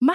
ما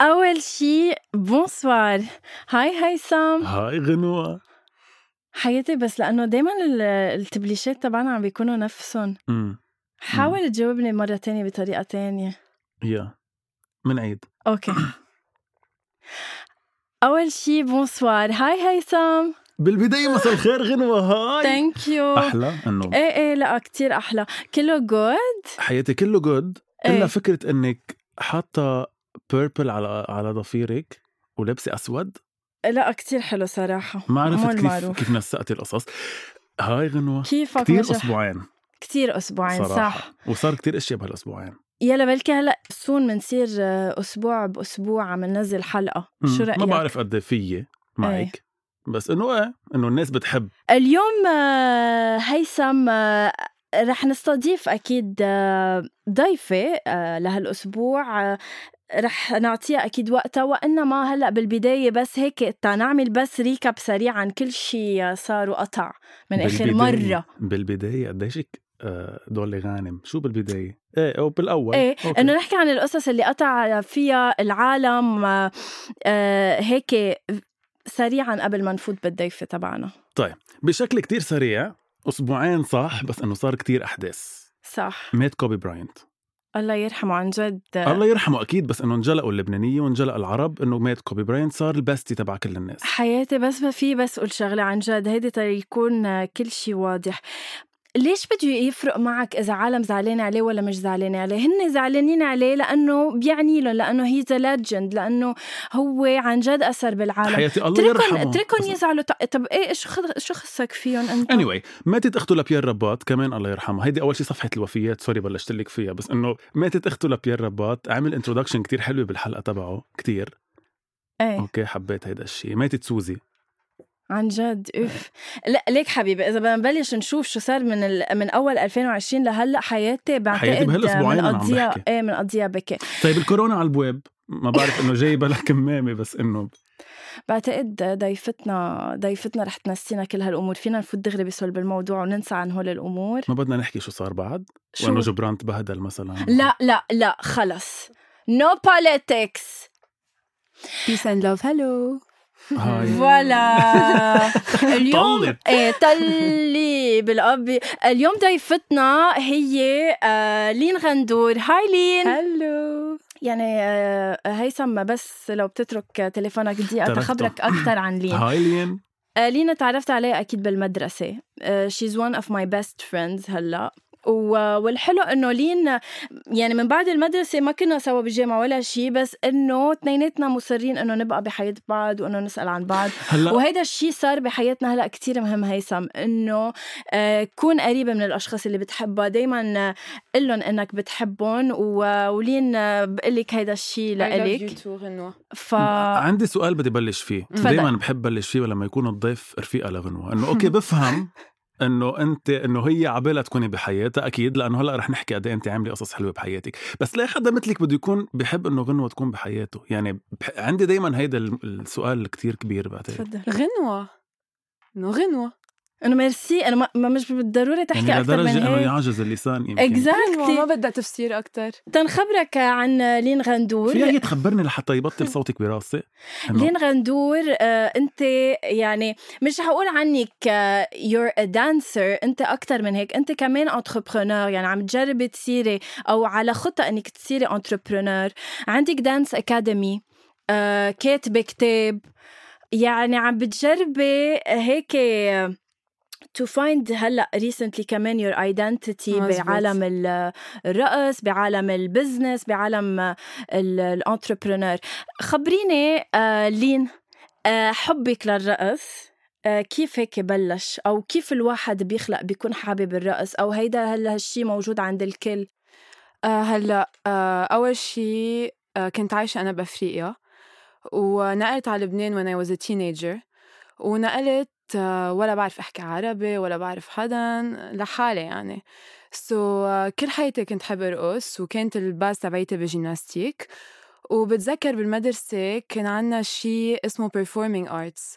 أول شي بونسوار هاي هيثم هاي غنوة حياتي بس لأنه دايما ال- التبليشات تبعنا عم بيكونوا نفسهم امم حاول تجاوبني مرة تانية بطريقة تانية يا من عيد اوكي آه. اول شي بونسوار هاي هيثم بالبدايه مساء الخير غنوه هاي ثانك يو احلى انه ايه ايه لا كتير احلى كله جود حياتي كله جود إيه. الا فكره انك حاطه بيربل على على ضفيرك ولابسه اسود لا كتير حلو صراحة ما مو عرفت كيف المعروف. كيف نسقتي القصص هاي غنوه كيفك كثير مجح؟ اسبوعين كتير اسبوعين صراحه صح وصار كثير اشياء بهالاسبوعين يلا بلكي هلا سون منصير آه، اسبوع باسبوع عم ننزل حلقة مم. شو رأيك؟ إيه. ما بعرف قد إيه فيي معك بس انه ايه انه الناس بتحب اليوم آه، هيثم آه، رح نستضيف اكيد آه، ضيفه آه، لهالاسبوع آه، رح نعطيها اكيد وقتها وانما هلا بالبدايه بس هيك تنعمل بس ريكاب سريع عن كل شيء صار وقطع من اخر بالبداية- مره بالبدايه قديش آه، دول غانم شو بالبدايه؟ ايه او بالاول ايه أوكي. انه نحكي عن القصص اللي قطع فيها العالم آه، آه، هيك سريعا قبل ما نفوت بالضيفه تبعنا بشكل كتير سريع اسبوعين صح بس انه صار كتير احداث صح مات كوبي براينت الله يرحمه عن جد الله يرحمه اكيد بس انه انجلقوا اللبنانيه وانجلق العرب انه مات كوبي براينت صار البستي تبع كل الناس حياتي بس ما في بس قول شغلة عن جد هيدي تا يكون كل شي واضح ليش بده يفرق معك إذا عالم زعلانة عليه ولا مش زعلانة عليه؟ هن زعلانين عليه لأنه بيعني لهم لأنه هي ذا ليجند لأنه هو عن جد أثر بالعالم حياتي الله اتركهم يرحمه اتركهم يزعلوا ط- طب إيه شو خد- شو خصك فيهم أنت؟ اني anyway, ماتت اخته لبيير رباط كمان الله يرحمها هيدي اول شيء صفحه الوفيات سوري بلشت لك فيها بس انه ماتت اخته لبيير رباط عمل انتروداكشن كتير حلوه بالحلقه تبعه كتير إيه اوكي حبيت هيدا الشيء ماتت سوزي عن جد أوف لا ليك حبيبي إذا بدنا نبلش نشوف شو صار من ال... من أول 2020 لهلا حياتي بعتقد بهالأسبوعين أنا عم منقضيها بحكي. إيه منقضيها بكي طيب الكورونا على البواب ما بعرف انه جايبه لك كمامه بس انه بعتقد ضيفتنا ضيفتنا رح تنسينا كل هالامور فينا نفوت دغري بصلب الموضوع وننسى عن هول الامور ما بدنا نحكي شو صار بعد شو وانه جبران تبهدل مثلا لا لا لا خلص نو بوليتكس Peace and love, hello. هاي فوالا اليوم طلت. ايه طلي بالاب اليوم ضيفتنا هي آه لين غندور هاي لين Hello. يعني آه هيثم بس لو بتترك تليفونك دقيقه تركته. تخبرك اكثر عن لين هاي لين آه، لينا تعرفت عليها آه، اكيد بالمدرسه شيز ون اوف ماي بيست فريندز هلا و- والحلو انه لين يعني من بعد المدرسه ما كنا سوا بالجامعه ولا شيء بس انه اثنيناتنا مصرين انه نبقى بحياه بعض وانه نسال عن بعض هلا وهيدا الشيء صار بحياتنا هلا كتير مهم هيثم انه آه، كون قريبه من الاشخاص اللي بتحبها دائما قل لهم انك بتحبهم و- ولين آه، بقلك هيدا الشيء لإلك ف عندي سؤال بدي بلش فيه تفضل. دائما بحب بلش فيه لما يكون الضيف رفيقه لغنوه انه اوكي بفهم انه انت انه هي عبالها تكوني بحياتها اكيد لانه هلا رح نحكي قد إيه انت عامله قصص حلوه بحياتك بس لا حدا مثلك بده يكون بحب انه غنوه تكون بحياته يعني بح... عندي دائما هيدا ال- السؤال كتير كبير بعتقد تفضل غنوة. إنه غنوة. انه ميرسي انا ما- ما مش بالضروره تحكي يعني اكثر من لدرجه انه هيك يعجز اللسان يمكن اكزاكتلي ما بدها تفسير اكثر تنخبرك عن لين غندور فيها هي تخبرني لحتى يبطل صوتك براسي إنه لين غندور آه، انت يعني مش رح اقول عنك آه، يور ا دانسر انت اكثر من هيك انت كمان انتربرونور يعني عم تجربي تصيري او على خطه انك تصيري انتربرونور عندك دانس اكاديمي كاتبه كتاب يعني عم بتجربي هيك تو فايند هلا ريسنتلي كمان يور ايدنتيتي مزبوط. بعالم ال- الرقص بعالم البزنس بعالم الانتربرونور خبريني آه، لين آه، حبك للرقص آه، كيف هيك بلش او كيف الواحد بيخلق بيكون حابب الرقص او هيدا هلا هالشي موجود عند الكل آه هلا آه اول شيء آه كنت عايشه انا بافريقيا ونقلت على لبنان وانا واز تينيجر ونقلت آه ولا بعرف احكي عربي ولا بعرف حدا لحالي يعني سو so, uh, كل حياتي كنت حب ارقص وكانت الباس تبعيتي بالجيمناستيك وبتذكر بالمدرسة كان عنا شيء اسمه performing arts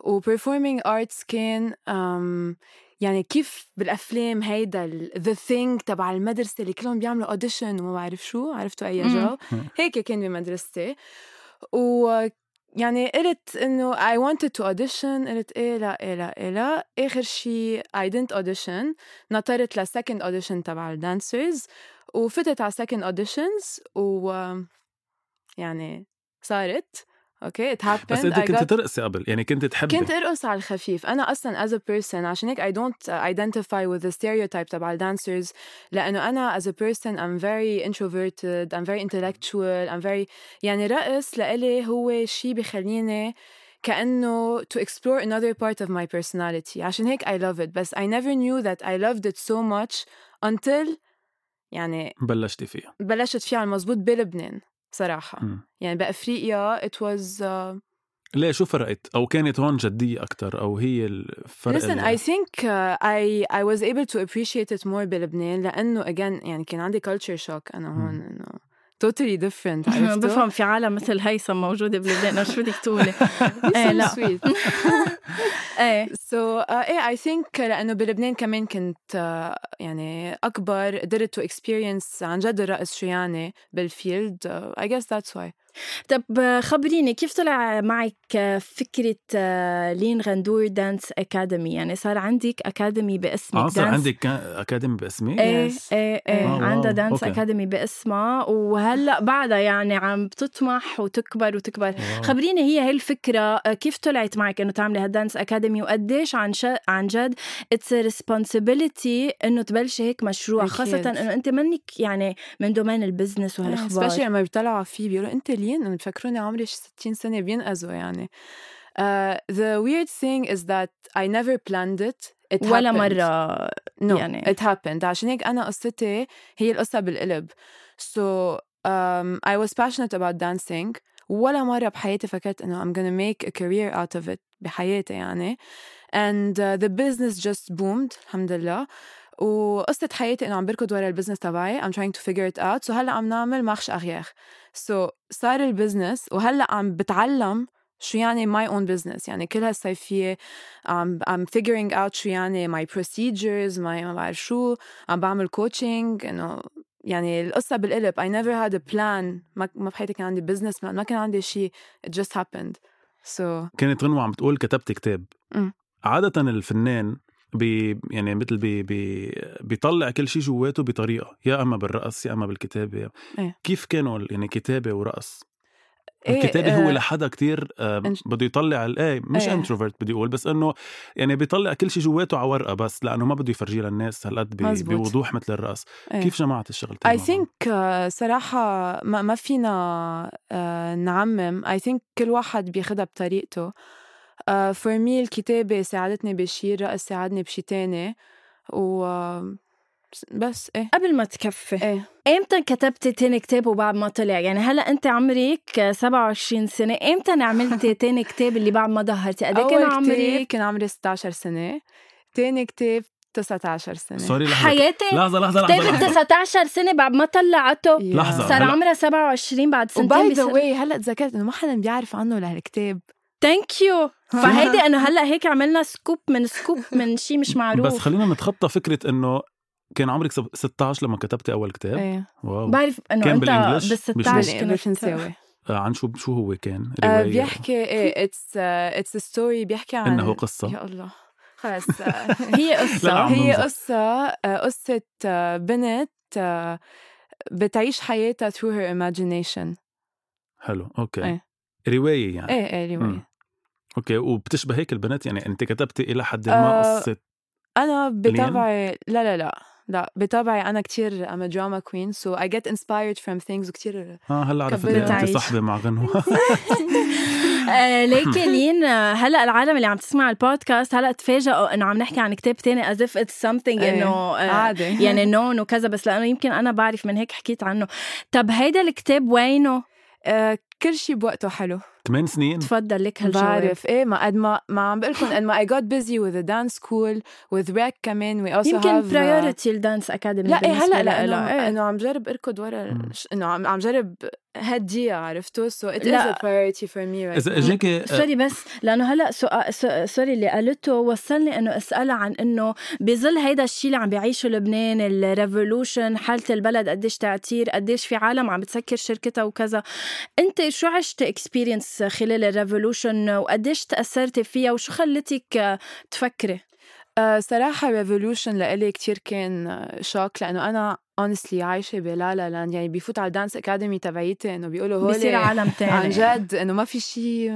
و performing arts كان um, يعني كيف بالافلام هيدا ال- the thing تبع المدرسه اللي كلهم بيعملوا اوديشن وما بعرف شو عرفتوا اي مم. جو هيك كان بمدرستي و يعني قلت انه I wanted to audition قلت ايه لا ايه لا ايه لا اخر شيء I didn't audition نطرت لسكند audition تبع الدانسرز وفتت على second auditions و يعني صارت اوكي it happened بس انت I كنت got- ترقصي قبل يعني كنت تحبي كنت ارقص على الخفيف انا اصلا as a person عشان هيك I don't identify with the stereotype تبع الدانسرز لانه انا as a person I'm very introverted I'm very intellectual I'm very يعني رقص لإلي هو شيء بخليني كأنه to explore another part of my personality عشان هيك I love it بس I never knew that I loved it so much until يعني بلشتي فيها بلشت فيه على المزبوط بلبنان صراحة مم. يعني بأفريقيا it was uh, ليه شو فرقت او كانت هون جديه اكثر او هي الفرق Listen, ال- I think uh, I I was able to appreciate it more بلبنان لأنه again يعني كان عندي culture shock أنا هون مم. إنه totally different عرفتوا؟ بفهم في عالم مثل هيثم موجوده بلبنان شو بدك تقولي إيه، He's لا. so sweet. ايه So uh, إيه I think لأنه بلبنان كمان كنت uh, يعني أكبر قدرت to experience عن جد الرقص شو يعني بالفيلد uh, I guess that's why. طب خبريني كيف طلع معك فكرة آه، لين غندور دانس أكاديمي يعني صار عندك أكاديمي باسمك اه صار دانس- عندك كان اكاديمي إيه. باسمي ايه Yes. ايه ايه آه، واو، عندها دانس أوكي. أكاديمي باسمها وهلأ بعدها يعني عم بتطمح وتكبر وتكبر واو. خبريني هي هي الفكرة آه، كيف طلعت معك إنه تعملي هالدانس أكاديمي وقديش عن ش... عن جد اتس ريسبونسبيلتي إنه تبلشي هيك مشروع أكيد. خاصة إنه أنت منك يعني من دومين البزنس إيه، وهالأخبار سبيشلي لما بيطلعوا فيه بيقولوا انت لين انه بفكروني عمري شي 60 سنه بينقذوا يعني uh, the weird thing is that I never planned it It ولا happened. مرة no, يعني. it happened عشان هيك أنا قصتي هي القصة بالقلب so um, I was passionate about dancing ولا مرة بحياتي فكرت إنه I'm gonna make a career out of it بحياتي يعني and uh, the business just boomed الحمد لله وقصة حياتي إنه عم بركض ورا البزنس تبعي I'm trying to figure it out so هلا عم نعمل مارش أغياغ so صار البزنس وهلا عم بتعلم شو يعني my own business يعني كل هالصيفية عم I'm figuring out شو يعني my procedures my ما بعرف شو عم بعمل coaching إنه يعني القصة بالقلب I never had a plan ما ما بحياتي كان عندي business plan ما كان عندي شيء it just happened so كانت غنوة عم بتقول كتبت كتاب أم. عادة الفنان بي يعني مثل بي بي بيطلع كل شيء جواته بطريقه يا اما بالرقص يا اما بالكتابه إيه. كيف كانوا ال- يعني كتابه ورقص إيه، الكتابه هو آه، لحدا كتير آه، إنش- بده يطلع ال- ايه مش إيه. انتروفيرت بدي اقول بس انه يعني بيطلع كل شيء جواته على ورقه بس لانه ما بده يفرجيه للناس هالقد بي- مزبوط. بوضوح مثل الرقص إيه. كيف جمعت الشغل I think uh, صراحة ما, ما فينا uh, نعمم I think كل واحد بياخدها بطريقته uh, for me الكتابة ساعدتني بشي الرقص ساعدني بشي تاني و uh, بس ايه قبل ما تكفي ايه امتى كتبتي تاني كتاب وبعد ما طلع يعني هلا انت عمرك 27 سنه امتى عملتي تاني كتاب اللي بعد ما ظهرتي قد إيه كان أول كتاب عمرك كان عمري 16 سنة تاني كتاب 19 سنة سوري لحظه حياتي لحظه لحظه كتابك لحظه 19 سنه بعد ما طلعته Yeah. لحظة. صار هلا- عمرها 27 بعد إيه. وباي سنتين ذا واي هلا تذكرت انه ما حدا بيعرف عنه لهالكتاب ثانك يو فهيدي انه هلا هيك عملنا سكوب من سكوب من شيء مش معروف بس خلينا نتخطى فكره انه كان عمرك سب- 16 لما كتبتي اول كتاب إيه، ايه واو بعرف انه كان انت بالإنجليش؟ بال بالفرنس- 16 تعال كنت بالفرنساوي آه، عن شو شو هو كان آه، روايه بيحكي ايه اتس اتس ستوري بيحكي عن انه قصه يا الله خلص آه، هي لا، قصه عم هي نمزح. قصة آه، قصة آه، بنت آه، بتعيش حياتها through her imagination حلو اوكي إيه. روايه يعني ايه ايه مم. رواية اوكي وبتشبه هيك البنات يعني انت كتبتي الى حد ما آه، قصه انا بطبعي لا لا لا لا بطبعي انا كتير I'm a drama queen so I get inspired from things وكتير اه هلا عرفت كبرت ليه انت عيش. صاحبه مع غنوه آه، ليكي لين آه، هلا العالم اللي عم تسمع البودكاست هلا تفاجئوا انه عم نحكي عن كتاب تاني as if it's something إيه. انه آه، عادي يعني نون وكذا بس لانه يمكن انا بعرف من هيك حكيت عنه طب هيدا الكتاب وينه؟ آه، كل شيء بوقته حلو ثمان سنين تفضل لك هالجواب بعرف ايه ما قد ما ما عم بقول لكم قد ما I got busy with the dance school with rec كمان we also يمكن have آه، برايورتي الدانس اكاديمي لا إيه هلا لا إيه. لا انه عم جرب اركض ورا مم. الش- انه عم عم جرب هالجيا عرفتوا سو ات از لا. ا priority for me right اذا now. اجاكي أه. آه، سوري بس لانه هلا سؤال سو- سوري اللي قالته وصلني انه اسالها عن انه بظل هيدا الشيء اللي عم بيعيشه لبنان الريفولوشن حاله البلد قديش تعتير قديش في عالم عم بتسكر شركتها وكذا انت شو عشت اكسبيرينس خلال الريفولوشن وقديش تاثرتي فيها وشو خلتك آه، تفكري آه، صراحة revolution لإلي كتير كان آه، شوك لأنه أنا honestly عايشة بلا لا لاند يعني بفوت على الدانس اكاديمي تبعيتي إنه بيقولوا هول بصير عالم تاني عن جد إنه ما في شيء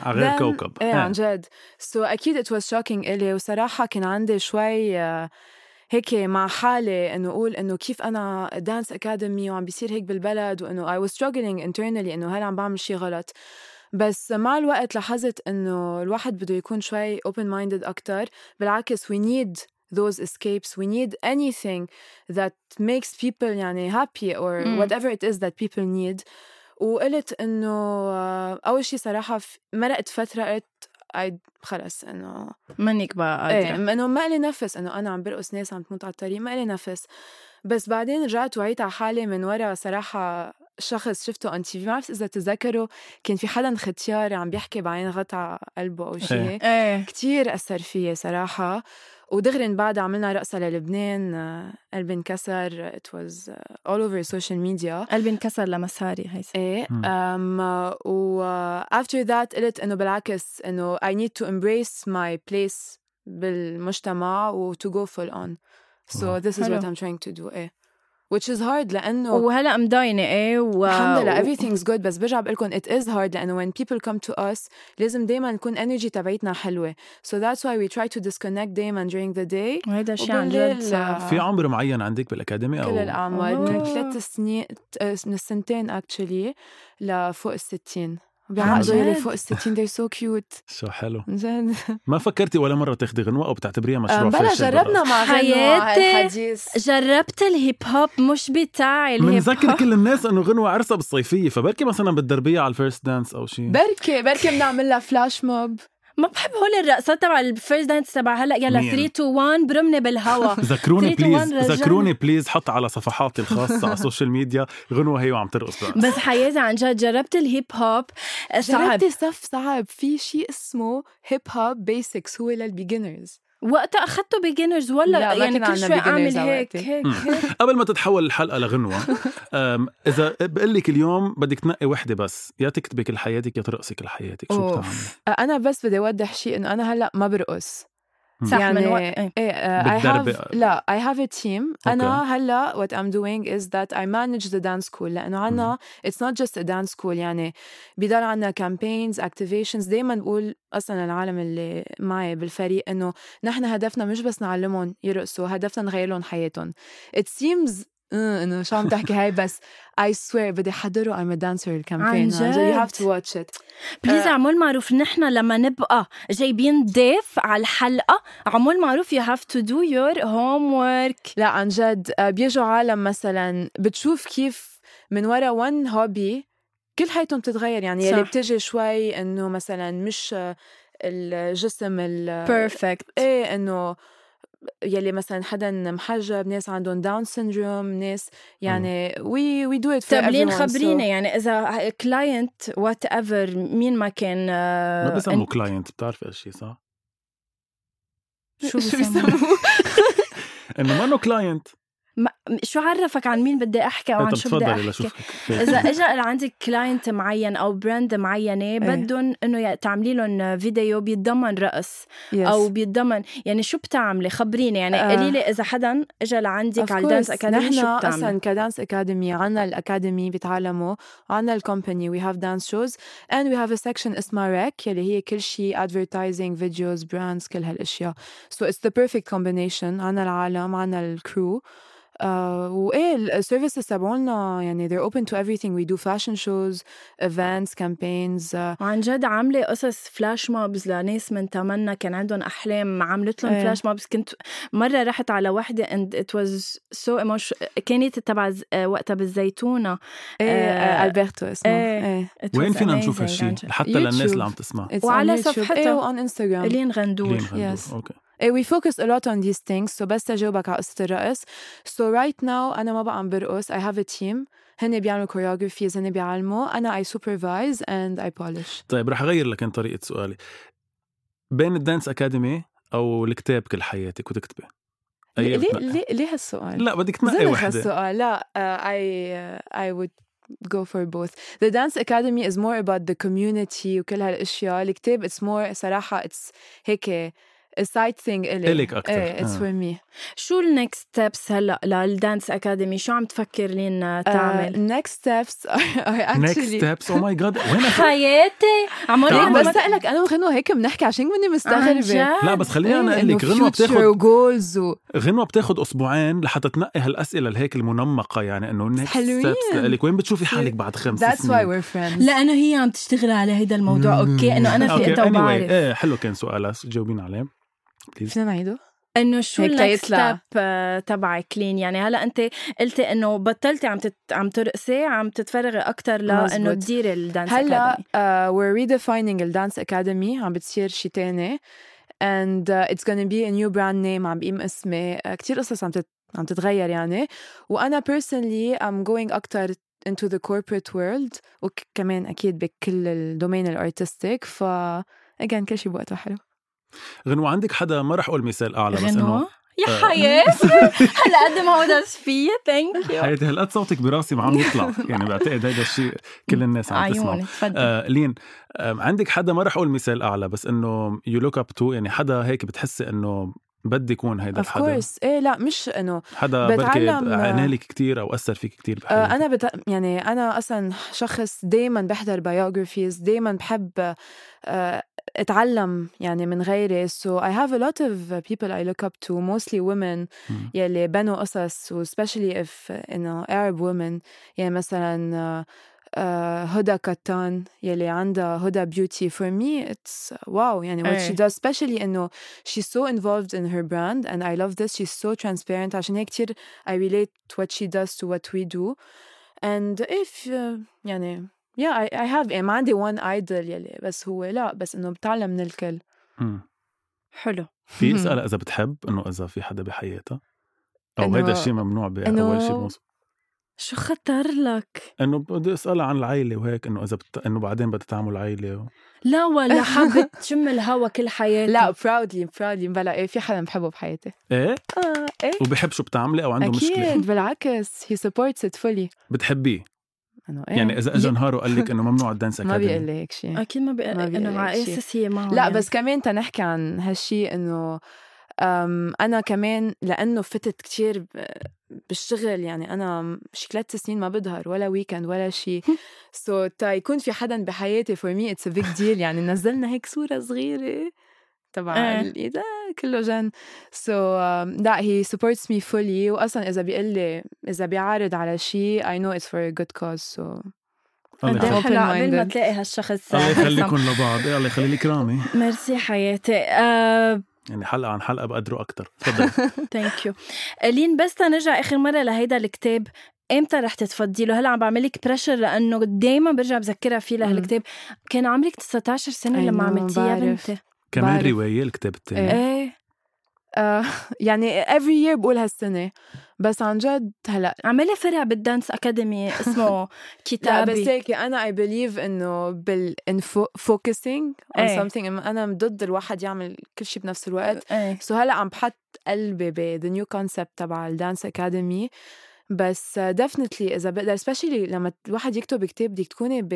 على غير then- كوكب ايه عن آه. جد سو so, اكيد ات واز شوكينج الي وصراحه كان عندي شوي آه، هيك مع حالي انه اقول انه كيف انا دانس اكاديمي وعم بيصير هيك بالبلد وانه اي واز struggling internally انه هل عم بعمل شيء غلط بس مع الوقت لاحظت انه الواحد بده يكون شوي open minded اكثر بالعكس we need those escapes we need anything that makes people يعني happy or مم. whatever it is that people need وقلت انه آه، اول شيء صراحه ف- مرقت فتره قلت I- خلص انه منك بقى ايه قادرة. انه ما لي نفس انه انا عم برقص ناس عم تموت على الطريق ما لي نفس بس بعدين رجعت وعيت على حالي من ورا صراحه شخص شفته اون تي في ما بعرف اذا تذكروا كان في حدا ختيار عم بيحكي بعين غطا قلبه او شيء إيه. هيك ايه كتير أثر فيي صراحة ودغري من بعد عملنا رقصة للبنان آه، قلبي انكسر it was آه، all over social media قلبي انكسر لمساري هيثم ايه مم. أم و آه، after that قلت انه بالعكس انه I need to embrace my place بالمجتمع و to go full on so واو. this is حلو. what I'm trying to do ايه which is hard لأنه وهلا مضاينه ايه و... الحمد لله everything's good بس برجع بقول لكم it is hard لانه when people come to us لازم دائما نكون energy تبعتنا حلوه so that's why we try to disconnect دائما during the day وهيدا شيء عن جد وبالليل، صعب آه، في عمر معين عندك بالاكاديمي او كل الاعمار من أوه. ثلاث سنين آه، من السنتين actually لفوق ال 60 عن بيعقدوا يلي جد؟ فوق ال 60 they're so cute شو حلو عن جد ما فكرتي ولا مره تاخدي غنوه او بتعتبريها مشروع آه، بلا فاشل بالرأس؟ جربنا مع غنوة حياتي. الحديث جربت الهيب هوب مش بتاعي الهيب منذكر هوب كل الناس انه غنوه عرسها بالصيفيه فبركي مثلا بتدربيها على الفيرست دانس او شيء بركي بركي بنعمل لها فلاش موب ما بحب هول الرقصات تبع الفيرست دانس تبع هلا يلا مين؟ 3 2 1 برمني بالهوا ذكروني 3 to 1 بليز رجعنا. ذكروني بليز حط على صفحاتي الخاصه على السوشيال ميديا غنوه هي وعم ترقص بقى. بس حياتي عن جد جربت الهيب هوب آه، صعب جربتي صف صعب في شيء اسمه هيب هوب بيسكس هو للبيجنرز وقتها اخذته بيجنرز ولا لا، ما يعني كان كل شوي عنا beginners اعمل هيك وقتها. هيك مم. هيك قبل ما تتحول الحلقه لغنوه أم، اذا بقول لك اليوم بدك تنقي وحده بس يا تكتبي كل حياتك يا ترقصي كل حياتك شو أوف. بتعملي انا آه، بس بدي اوضح شيء انه انا هلا ما برقص صح يعني من يعني وقت إيه. ايه uh, I بتدربي. have لا I have a team انا هلا what I'm doing is that I manage the dance school لانه عنا it's not just a dance school يعني بضل عنا campaigns activations دائما بقول اصلا العالم اللي معي بالفريق انه نحن هدفنا مش بس نعلمهم يرقصوا هدفنا نغير لهم حياتهم it seems آه، انه شو عم تحكي هاي بس I swear بدي احضره I'm a dancer الكامبين you have to watch it بليز آه. عمول معروف نحن لما نبقى جايبين ضيف على الحلقه عمول معروف يو هاف تو دو يور هوم ورك لا عن جد آه، بيجوا عالم مثلا بتشوف كيف من ورا ون هوبي كل حياتهم بتتغير يعني يلي صح. بتجي شوي انه مثلا مش آه، الجسم ال بيرفكت ايه انه يلي مثلا حدا محجب ناس عندهم داون سيندروم ناس يعني وي وي دو ات طيب لين خبرينا يعني اذا كلاينت وات ايفر مين ما كان آه، ما بسموه إن- كلاينت بتعرف هالشيء صح؟ شو شو بسموه بيسموه انه ما انه كلاينت شو عرفك عن مين بدي احكي او عن شو بدي إيه، تفضلي احكي لشوفك اذا اجى عندك كلاينت معين او براند إيه. معينه بدهم انه يع- تعملي لهم فيديو بيتضمن رقص او بيتضمن يعني شو بتعملي خبريني يعني آه. قولي لي اذا حدا اجى لعندك على الدانس اكاديمي نحن شو بتعملي اصلا كدانس اكاديمي عنا الاكاديمي بيتعلموا عنا الكومباني وي هاف دانس شوز اند وي هاف ا سكشن اسمها ريك يلي هي كل شيء ادفرتايزنج فيديوز براندز كل هالاشياء سو اتس ذا بيرفكت كومبينيشن عنا العالم عنا الكرو Uh, وايه السيرفيسز تبعولنا يعني they're open to everything we do fashion shows events campaigns uh, وعن جد عامله قصص فلاش مobs لناس من تمنا كان عندهم احلام عملت لهم إيه. فلاش مobs كنت مره رحت على وحده and it was so emotional كانت تبع ز- آه، وقتها بالزيتونه ايه آه، البرتو اسمه إيه. ايه It وين was فينا amazing نشوف عن هالشيء جد. حتى للناس يوتيوب. اللي عم تسمع It's وعلى on YouTube. صفحتها. ايه وعلى انستغرام الين غندور لين هندور. Yes. اوكي Eh, we focus a lot on these things so بس تجاوبك على قصة الرقص so right now أنا ما بقى عم برقص I have a team هن بيعملوا choreographies هن بيعلموا أنا I supervise and I polish طيب رح اغير لك أنا طريقه سؤالي بين الدانس اكاديمي او الكتاب كل حياتي كنت اكتبه ليه أي ليه بتنقي؟ ليه, ليه هالسؤال؟ لا بدك تنقي زنخ وحده هالسؤال لا uh, I uh, I would go for both the dance academy is more about the community وكل هالاشياء الكتاب it's more صراحة it's هيك a side thing إلي إلك أكتر. إيه it's آه. for me شو النكست ستيبس هلا للدانس اكاديمي شو عم تفكر لين آه، تعمل uh, next steps are, are نيكست actually ستيبس او ماي جاد Oh وين أخ- حياتي تعال. عمري ليك ما- بس اسالك انا وغنوه هيك بنحكي عشان مني عن مستغربه جد؟ لا بس خليني إيه، انا اقول لك غنوه بتاخذ وجولز و... غنوه بتاخذ اسبوعين لحتى تنقي هالاسئله الهيك المنمقه يعني انه نيكست حلوين. ستيبس لك وين بتشوفي حالك بعد خمس That's why سنين we're friends لأنه هي عم تشتغل على هيدا الموضوع أوكي إنه أنا أوكي، في إيدها anyway، وبعرف ايه حلو كان سؤالها جاوبين عليه بليز فينا نعيده؟ إنه شو هيك النكست تيطلع. ستيب تبعك لين يعني هلا أنت قلتي إنه بطلتي عم تت... عم ترقصي عم تتفرغي أكثر لإنه مزبوط. تديري الدانس هلا أكاديمي. uh, we're redefining الدانس اكاديمي عم بتصير شي تاني and uh, it's gonna be a new brand name عم بقيم اسمي uh, كتير قصص عم تت... عم تتغير يعني وانا personally I'm going اكتر into the corporate world وكمان اكيد بكل الدومين الارتستيك ف again كل شي بوقته حلو غنوه عندك حدا ما رح اقول مثال اعلى بس انه غنوة يا آه. حياتي هلا قد ما هو فيي ثانك يو حياتي هالقد صوتك براسي ما عم يطلع يعني بعتقد هيدا الشيء كل الناس عم تسمعه عيوني تفضل آه لين آه عندك حدا ما رح اقول مثال اعلى بس انه يو لوك اب تو يعني حدا هيك بتحسي انه بدي يكون هيدا of الحدا course ايه لا مش انه حدا بلكي بتعلم- عنالك كتير او اثر فيك كتير آه، بحياتك انا بت... يعني انا اصلا شخص دائما بحضر بايوغرافيز دائما بحب آه، اتعلم يعني من غيري so I have a lot of people I look up to mostly women مم. يلي بنوا قصص و especially if انه Arab women يعني مثلا آه، آه، هدى كتان يلي عندها هدى beauty for me it's wow يعني what إيه. she does especially انه she's so involved in her brand and I love this she's so transparent عشان هيك كتير I relate what she does to what we do and if uh, يعني yeah I, I have يعني ما عندي one idol يلي بس هو لا بس انه بتعلم من الكل مم. حلو في اسألها اذا بتحب انه اذا في حدا بحياتها او إنه- هيدا الشيء ممنوع باول إنه- شيء بموسم شو خطر لك؟ انه بدي اسالها عن العيله وهيك انه اذا بت... انه بعدين بدها تعمل عيله و... لا ولا حابة تشم الهوا كل حياتي لا proudly proudly بلا ايه في حدا بحبه بحياتي ايه اه ايه وبحب شو بتعملي او عنده مشكله اكيد بالعكس he supports it fully بتحبيه انه إيه. ايه يعني اذا اجى نهار وقال لك انه ممنوع الدانس ما بيقول اكاديمي لي هيك شيء أكيد ما بقى ما بيقلق إنه على شي. أساس هي معهم لا يعني. بس كمان تنحكي عن هالشي انه أم، انا كمان لانه فتت كتير ب- بالشغل يعني انا شي ثلاث سنين ما بظهر ولا ويكند ولا شي سو so, تا يكون في حدا بحياتي فور مي اتس بيج ديل يعني نزلنا هيك صوره صغيره تبع إيه. الاذا كله جن سو لا هي سبورتس مي فولي واصلا اذا بيقول لي اذا بيعارض على شي اي نو اتس فور ا جود كوز سو الله قد إيه يخليك- حلو قبل ما Open-minded. تلاقي هالشخص الله هيثم. يخليكم لبعض إيه، الله يخلي لي كرامي ميرسي حياتي آه، يعني حلقه عن حلقه بقدروا اكثر تفضل ثانك يو الين بس تنرجع اخر مره لهيدا الكتاب امتى رح تتفضي له هلا عم بعمل لك بريشر لانه دايما برجع بذكرها فيه لهالكتاب كان عمرك 19 سنه I لما know، عملتيها بعرف. بنتي كمان بعرف. روايه الكتاب الثاني إيه. ايه آه، يعني every year بقول هالسنة بس عن جد هلا عملي فرع بالدانس اكاديمي اسمه لا بس كتابي هيك انا اي بليف انه بال in fo- focusing on إيه. something إنه انا ضد الواحد يعمل كل شيء بنفس الوقت ايه سو هلا عم بحط قلبي ب the new concept تبع الدانس اكاديمي بس ديفنتلي اذا بقدر سبيشلي لما الواحد يكتب كتاب بدك تكوني ب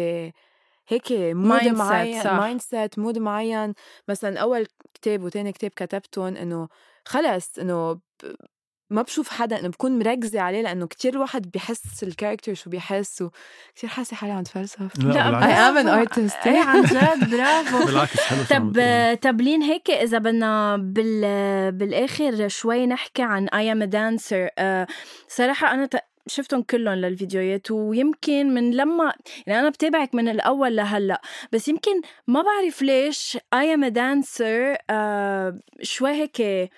هيك مود Mindset، معين صح. مايند سيت مود معين مثلا اول كتاب وتاني كتاب كتبتهم انه خلص انه ب- ما بشوف حدا انه بكون مركزه عليه لانه كتير الواحد بيحس الكاركتر شو بيحس وكتير حاسه حالي عم تفلسف لا، I بالعكس بس- am an artist ايه عن جد برافو بالعكس حلو شو عم طب إيه. بتقولي. طب لين هيك اذا بدنا بال بالاخر شوي نحكي عن اي ام دانسر صراحه انا آه، ت- شفتهم كلهم للفيديوهات ويمكن من لما يعني انا بتابعك من الاول لهلا بس يمكن ما بعرف ليش اي ام دانسر آه، شوي هيك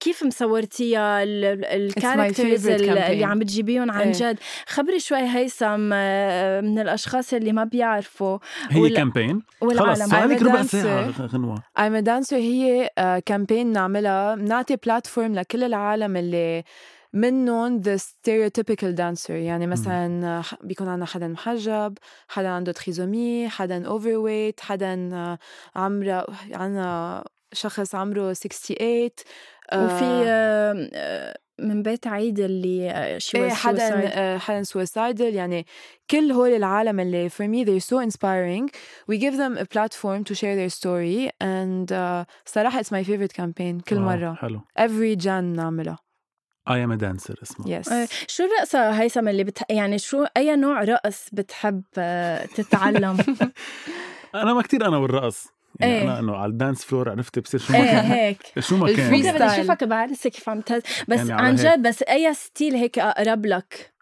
كيف مصورتيها ال- ال- الكاركترز favorite ال- اللي campaign. عم بتجيبيهم عن إيه. جد خبري شوي هيثم آه، من الاشخاص اللي ما بيعرفوا هي ولا- كامبين خلص والعالم صح. صار لك I'm a ربع dancer. ساعه غنوه I'm a dancer هي آه، كامبين نعملها بنعطي بلاتفورم لكل العالم اللي منهم the stereotypical dancer يعني مثلا آه، ح- بيكون عندنا حدا محجب حدا عنده تخيزومي حدا overweight حدا آه، عمره عنا شخص عمره 68 آه، وفي آه، آه، من بيت عيد اللي آه، she ايه was حدا suicide. آه، حدا suicidal يعني كل هول العالم اللي for me they're so inspiring we give them a platform to share their story and uh, صراحة it's my favorite campaign كل واو، مرة آه، حلو every جان نعملها اي ام دانسر اسمه yes آه، شو الرقصة هيثم اللي بتح... يعني شو أي نوع رقص بتحب آه، تتعلم؟ انا ما كتير انا والرقص يعني إيه. انا انه على الدانس فلور عرفت بصير شو ما ايه كان إيه، هيك شو ما الفري بدي كان ستايل. بدي اشوفك بعرسي كيف عم تهز بس يعني يعني على عن هيك. جد بس أي ستيل هيك أقرب لك؟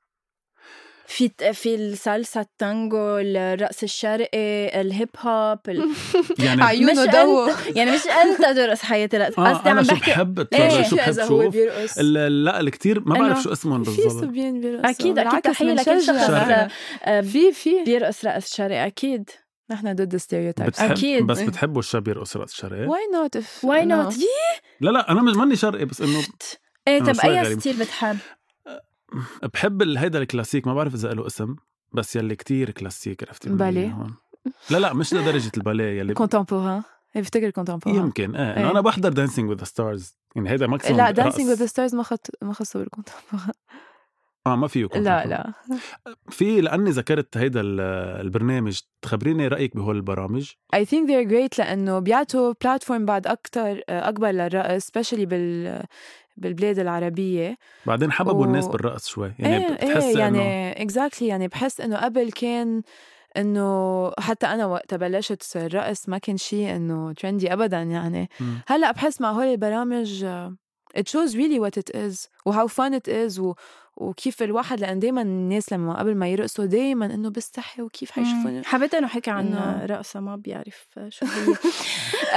في في الصلصة التانجو الرقص الشرقي الهيب هوب ال... يعني عيونه مش ضوء يعني مش أنت ترقص حياتي رقص اه قصدي انا عم شو بحكي بحب اتفرج إيه. شو بحب شوف بيرقص ال- لا الكتير ما إنه بعرف شو اسمهم في بالضبط صبيان بيرقصوا أكيد أكيد بالعكس، تحية لكل منشجع. شخص آه، آه، في في بيرقص رقص شرقي أكيد نحن ضد الستيريوتايبس بتحب أكيد. بس إيه. بتحبوا الشاب يرقص رقص شرقي why not if واي no. نوت لا لا انا مش ماني شرقي بس انه ايه أنا طب شوي اي غريب. ستيل بتحب؟ بحب ال- هيدا الكلاسيك ما بعرف اذا له اسم بس يلي كتير كلاسيك عرفتي من باليه. مين هون. لا لا مش لدرجه الباليه يلي contemporain إيه، بفتكر contemporain يمكن ايه, إنه إيه. انا بحضر دانسينج وذ ستارز يعني هيدا ماكسيموم لا دانسينج وذ ستارز ما خط ما خصه بالكونتمبوري اه ما فيه يكون لا فيه. لا في لاني ذكرت هيدا ال- البرنامج تخبريني رايك بهول البرامج I think they're great لأنه بيعطوا بلاتفورم بعد أكتر آه، أكبر للرقص especially بال بالبلاد العربية بعدين حببوا و- الناس بالرقص شوي يعني ايه بتحس ايه انه يعني exactly يعني بحس إنه قبل كان إنه حتى أنا وقت بلشت الرقص ما كان شيء إنه ترندي أبدا يعني مم. هلا بحس مع هول البرامج آه، it shows really what it is وهاو fun it is و وكيف الواحد لان دائما الناس لما قبل ما يرقصوا دائما انه بستحي وكيف حيشوفوني حبيت انه حكي عن إنه- رقصه ما بيعرف شو هي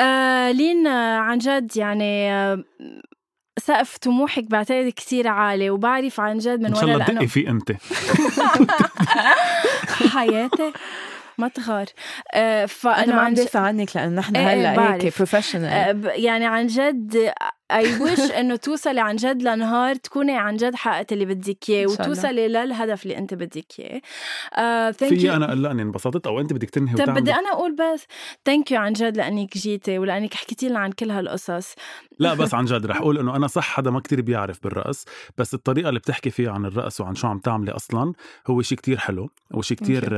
آه لين آه، عن جد يعني آه، سقف طموحك بعتقد كثير عالي وبعرف عن جد من ان شاء ورا الله تدقي لانه فيه انت حياتي ما تغار آه انا فانا ما عم عن جد دافع عنك لان نحن إيه، إيه، هلا هيك بعرف. بروفيشنال آه، ب- يعني عن جد اي ويش انه توصلي عن جد لنهار تكوني عن جد حققتي اللي بدك اياه إن شاء الله. وتوصلي للهدف اللي انت بدك اياه آه thank you. في انا قلقان انبسطت او انت بدك تنهي طيب، طب وتعملي بدي انا اقول بس ثانك يو عن جد لانك جيتي ولانك حكيتي لنا عن كل هالقصص لا بس عن جد رح اقول انه انا صح حدا ما كتير بيعرف بالرقص بس الطريقه اللي بتحكي فيها عن الرقص وعن شو عم تعملي اصلا هو شيء كتير حلو وشيء Thank you. كتير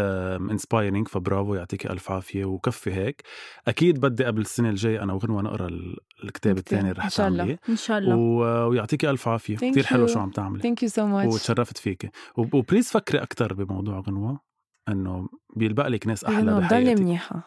انسبايرنج فبرافو يعطيك الف عافيه وكفي هيك اكيد بدي قبل السنه الجايه انا وغنوه نقرا ال- الكتاب الكتاب. الثاني اللي رح إن شاء الله. تعمليه ان شاء الله و... ويعطيك الف عافيه Thank كتير حلو you. شو عم تعملي ثانك يو سو ماتش وتشرفت فيك وبليز فكري اكثر بموضوع غنوه انه بيلبق لك ناس احلى ضلي بحياتك منيحه ضلي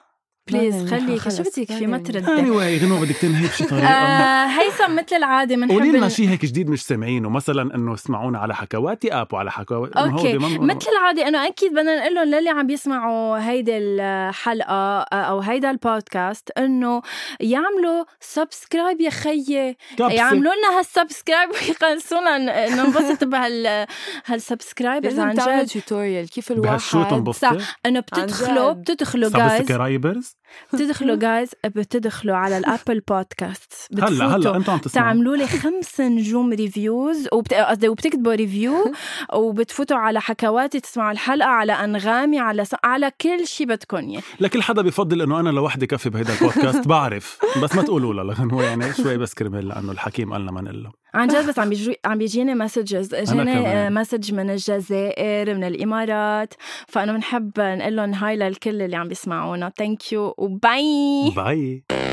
بليز إيه، منيحة، خليك شو خلص، بدك في ضلي ما منيحة. تردي anyway غنوه بدك تنهي بشي طريقه آه هيثم مثل العاده قولي لنا بنحب شيء هيك جديد مش سامعينه مثلا انه اسمعونا على حكواتي اب وعلى حكواتي أوكي. مثل العادة أنا أكيد بدنا نقول لهم للي عم يسمعوا هيدي الحلقة آه، أو هيدا البودكاست إنه يعملوا سبسكرايب يا خيي يعملوا لنا هالسبسكرايب ويخلصونا ن- ننبسط بهال هالسبسكرايبرز لازم عن تعمل جد توتوريال كيف بهالشو الواحد تنبسطي إنه بتدخلوا جد. بتدخلوا جايز سبسكرايبرز بتدخلوا جايز بتدخلوا على الابل بودكاست هلا هلا انتم عم تسمعوا تعملوا لي خمس نجوم ريفيوز وبت... قصدي وبتكتبوا ريفيو وبتفوتوا على حكواتي تسمعوا الحلقه على انغامي على س... على كل شيء بدكم اياه لكل حدا بفضل انه انا لوحدي كفي بهيدا البودكاست بعرف بس ما تقولوا لها لانه هو يعني شوي بس كرمال لانه الحكيم قالنا ما نقول له عن جد بس عم بيجي عم بيجيني مسجز اجاني كمان. مسج آه، من الجزائر من الامارات فانا بنحب نقول لهم هاي للكل اللي عم بيسمعونا ثانك يو وباي باي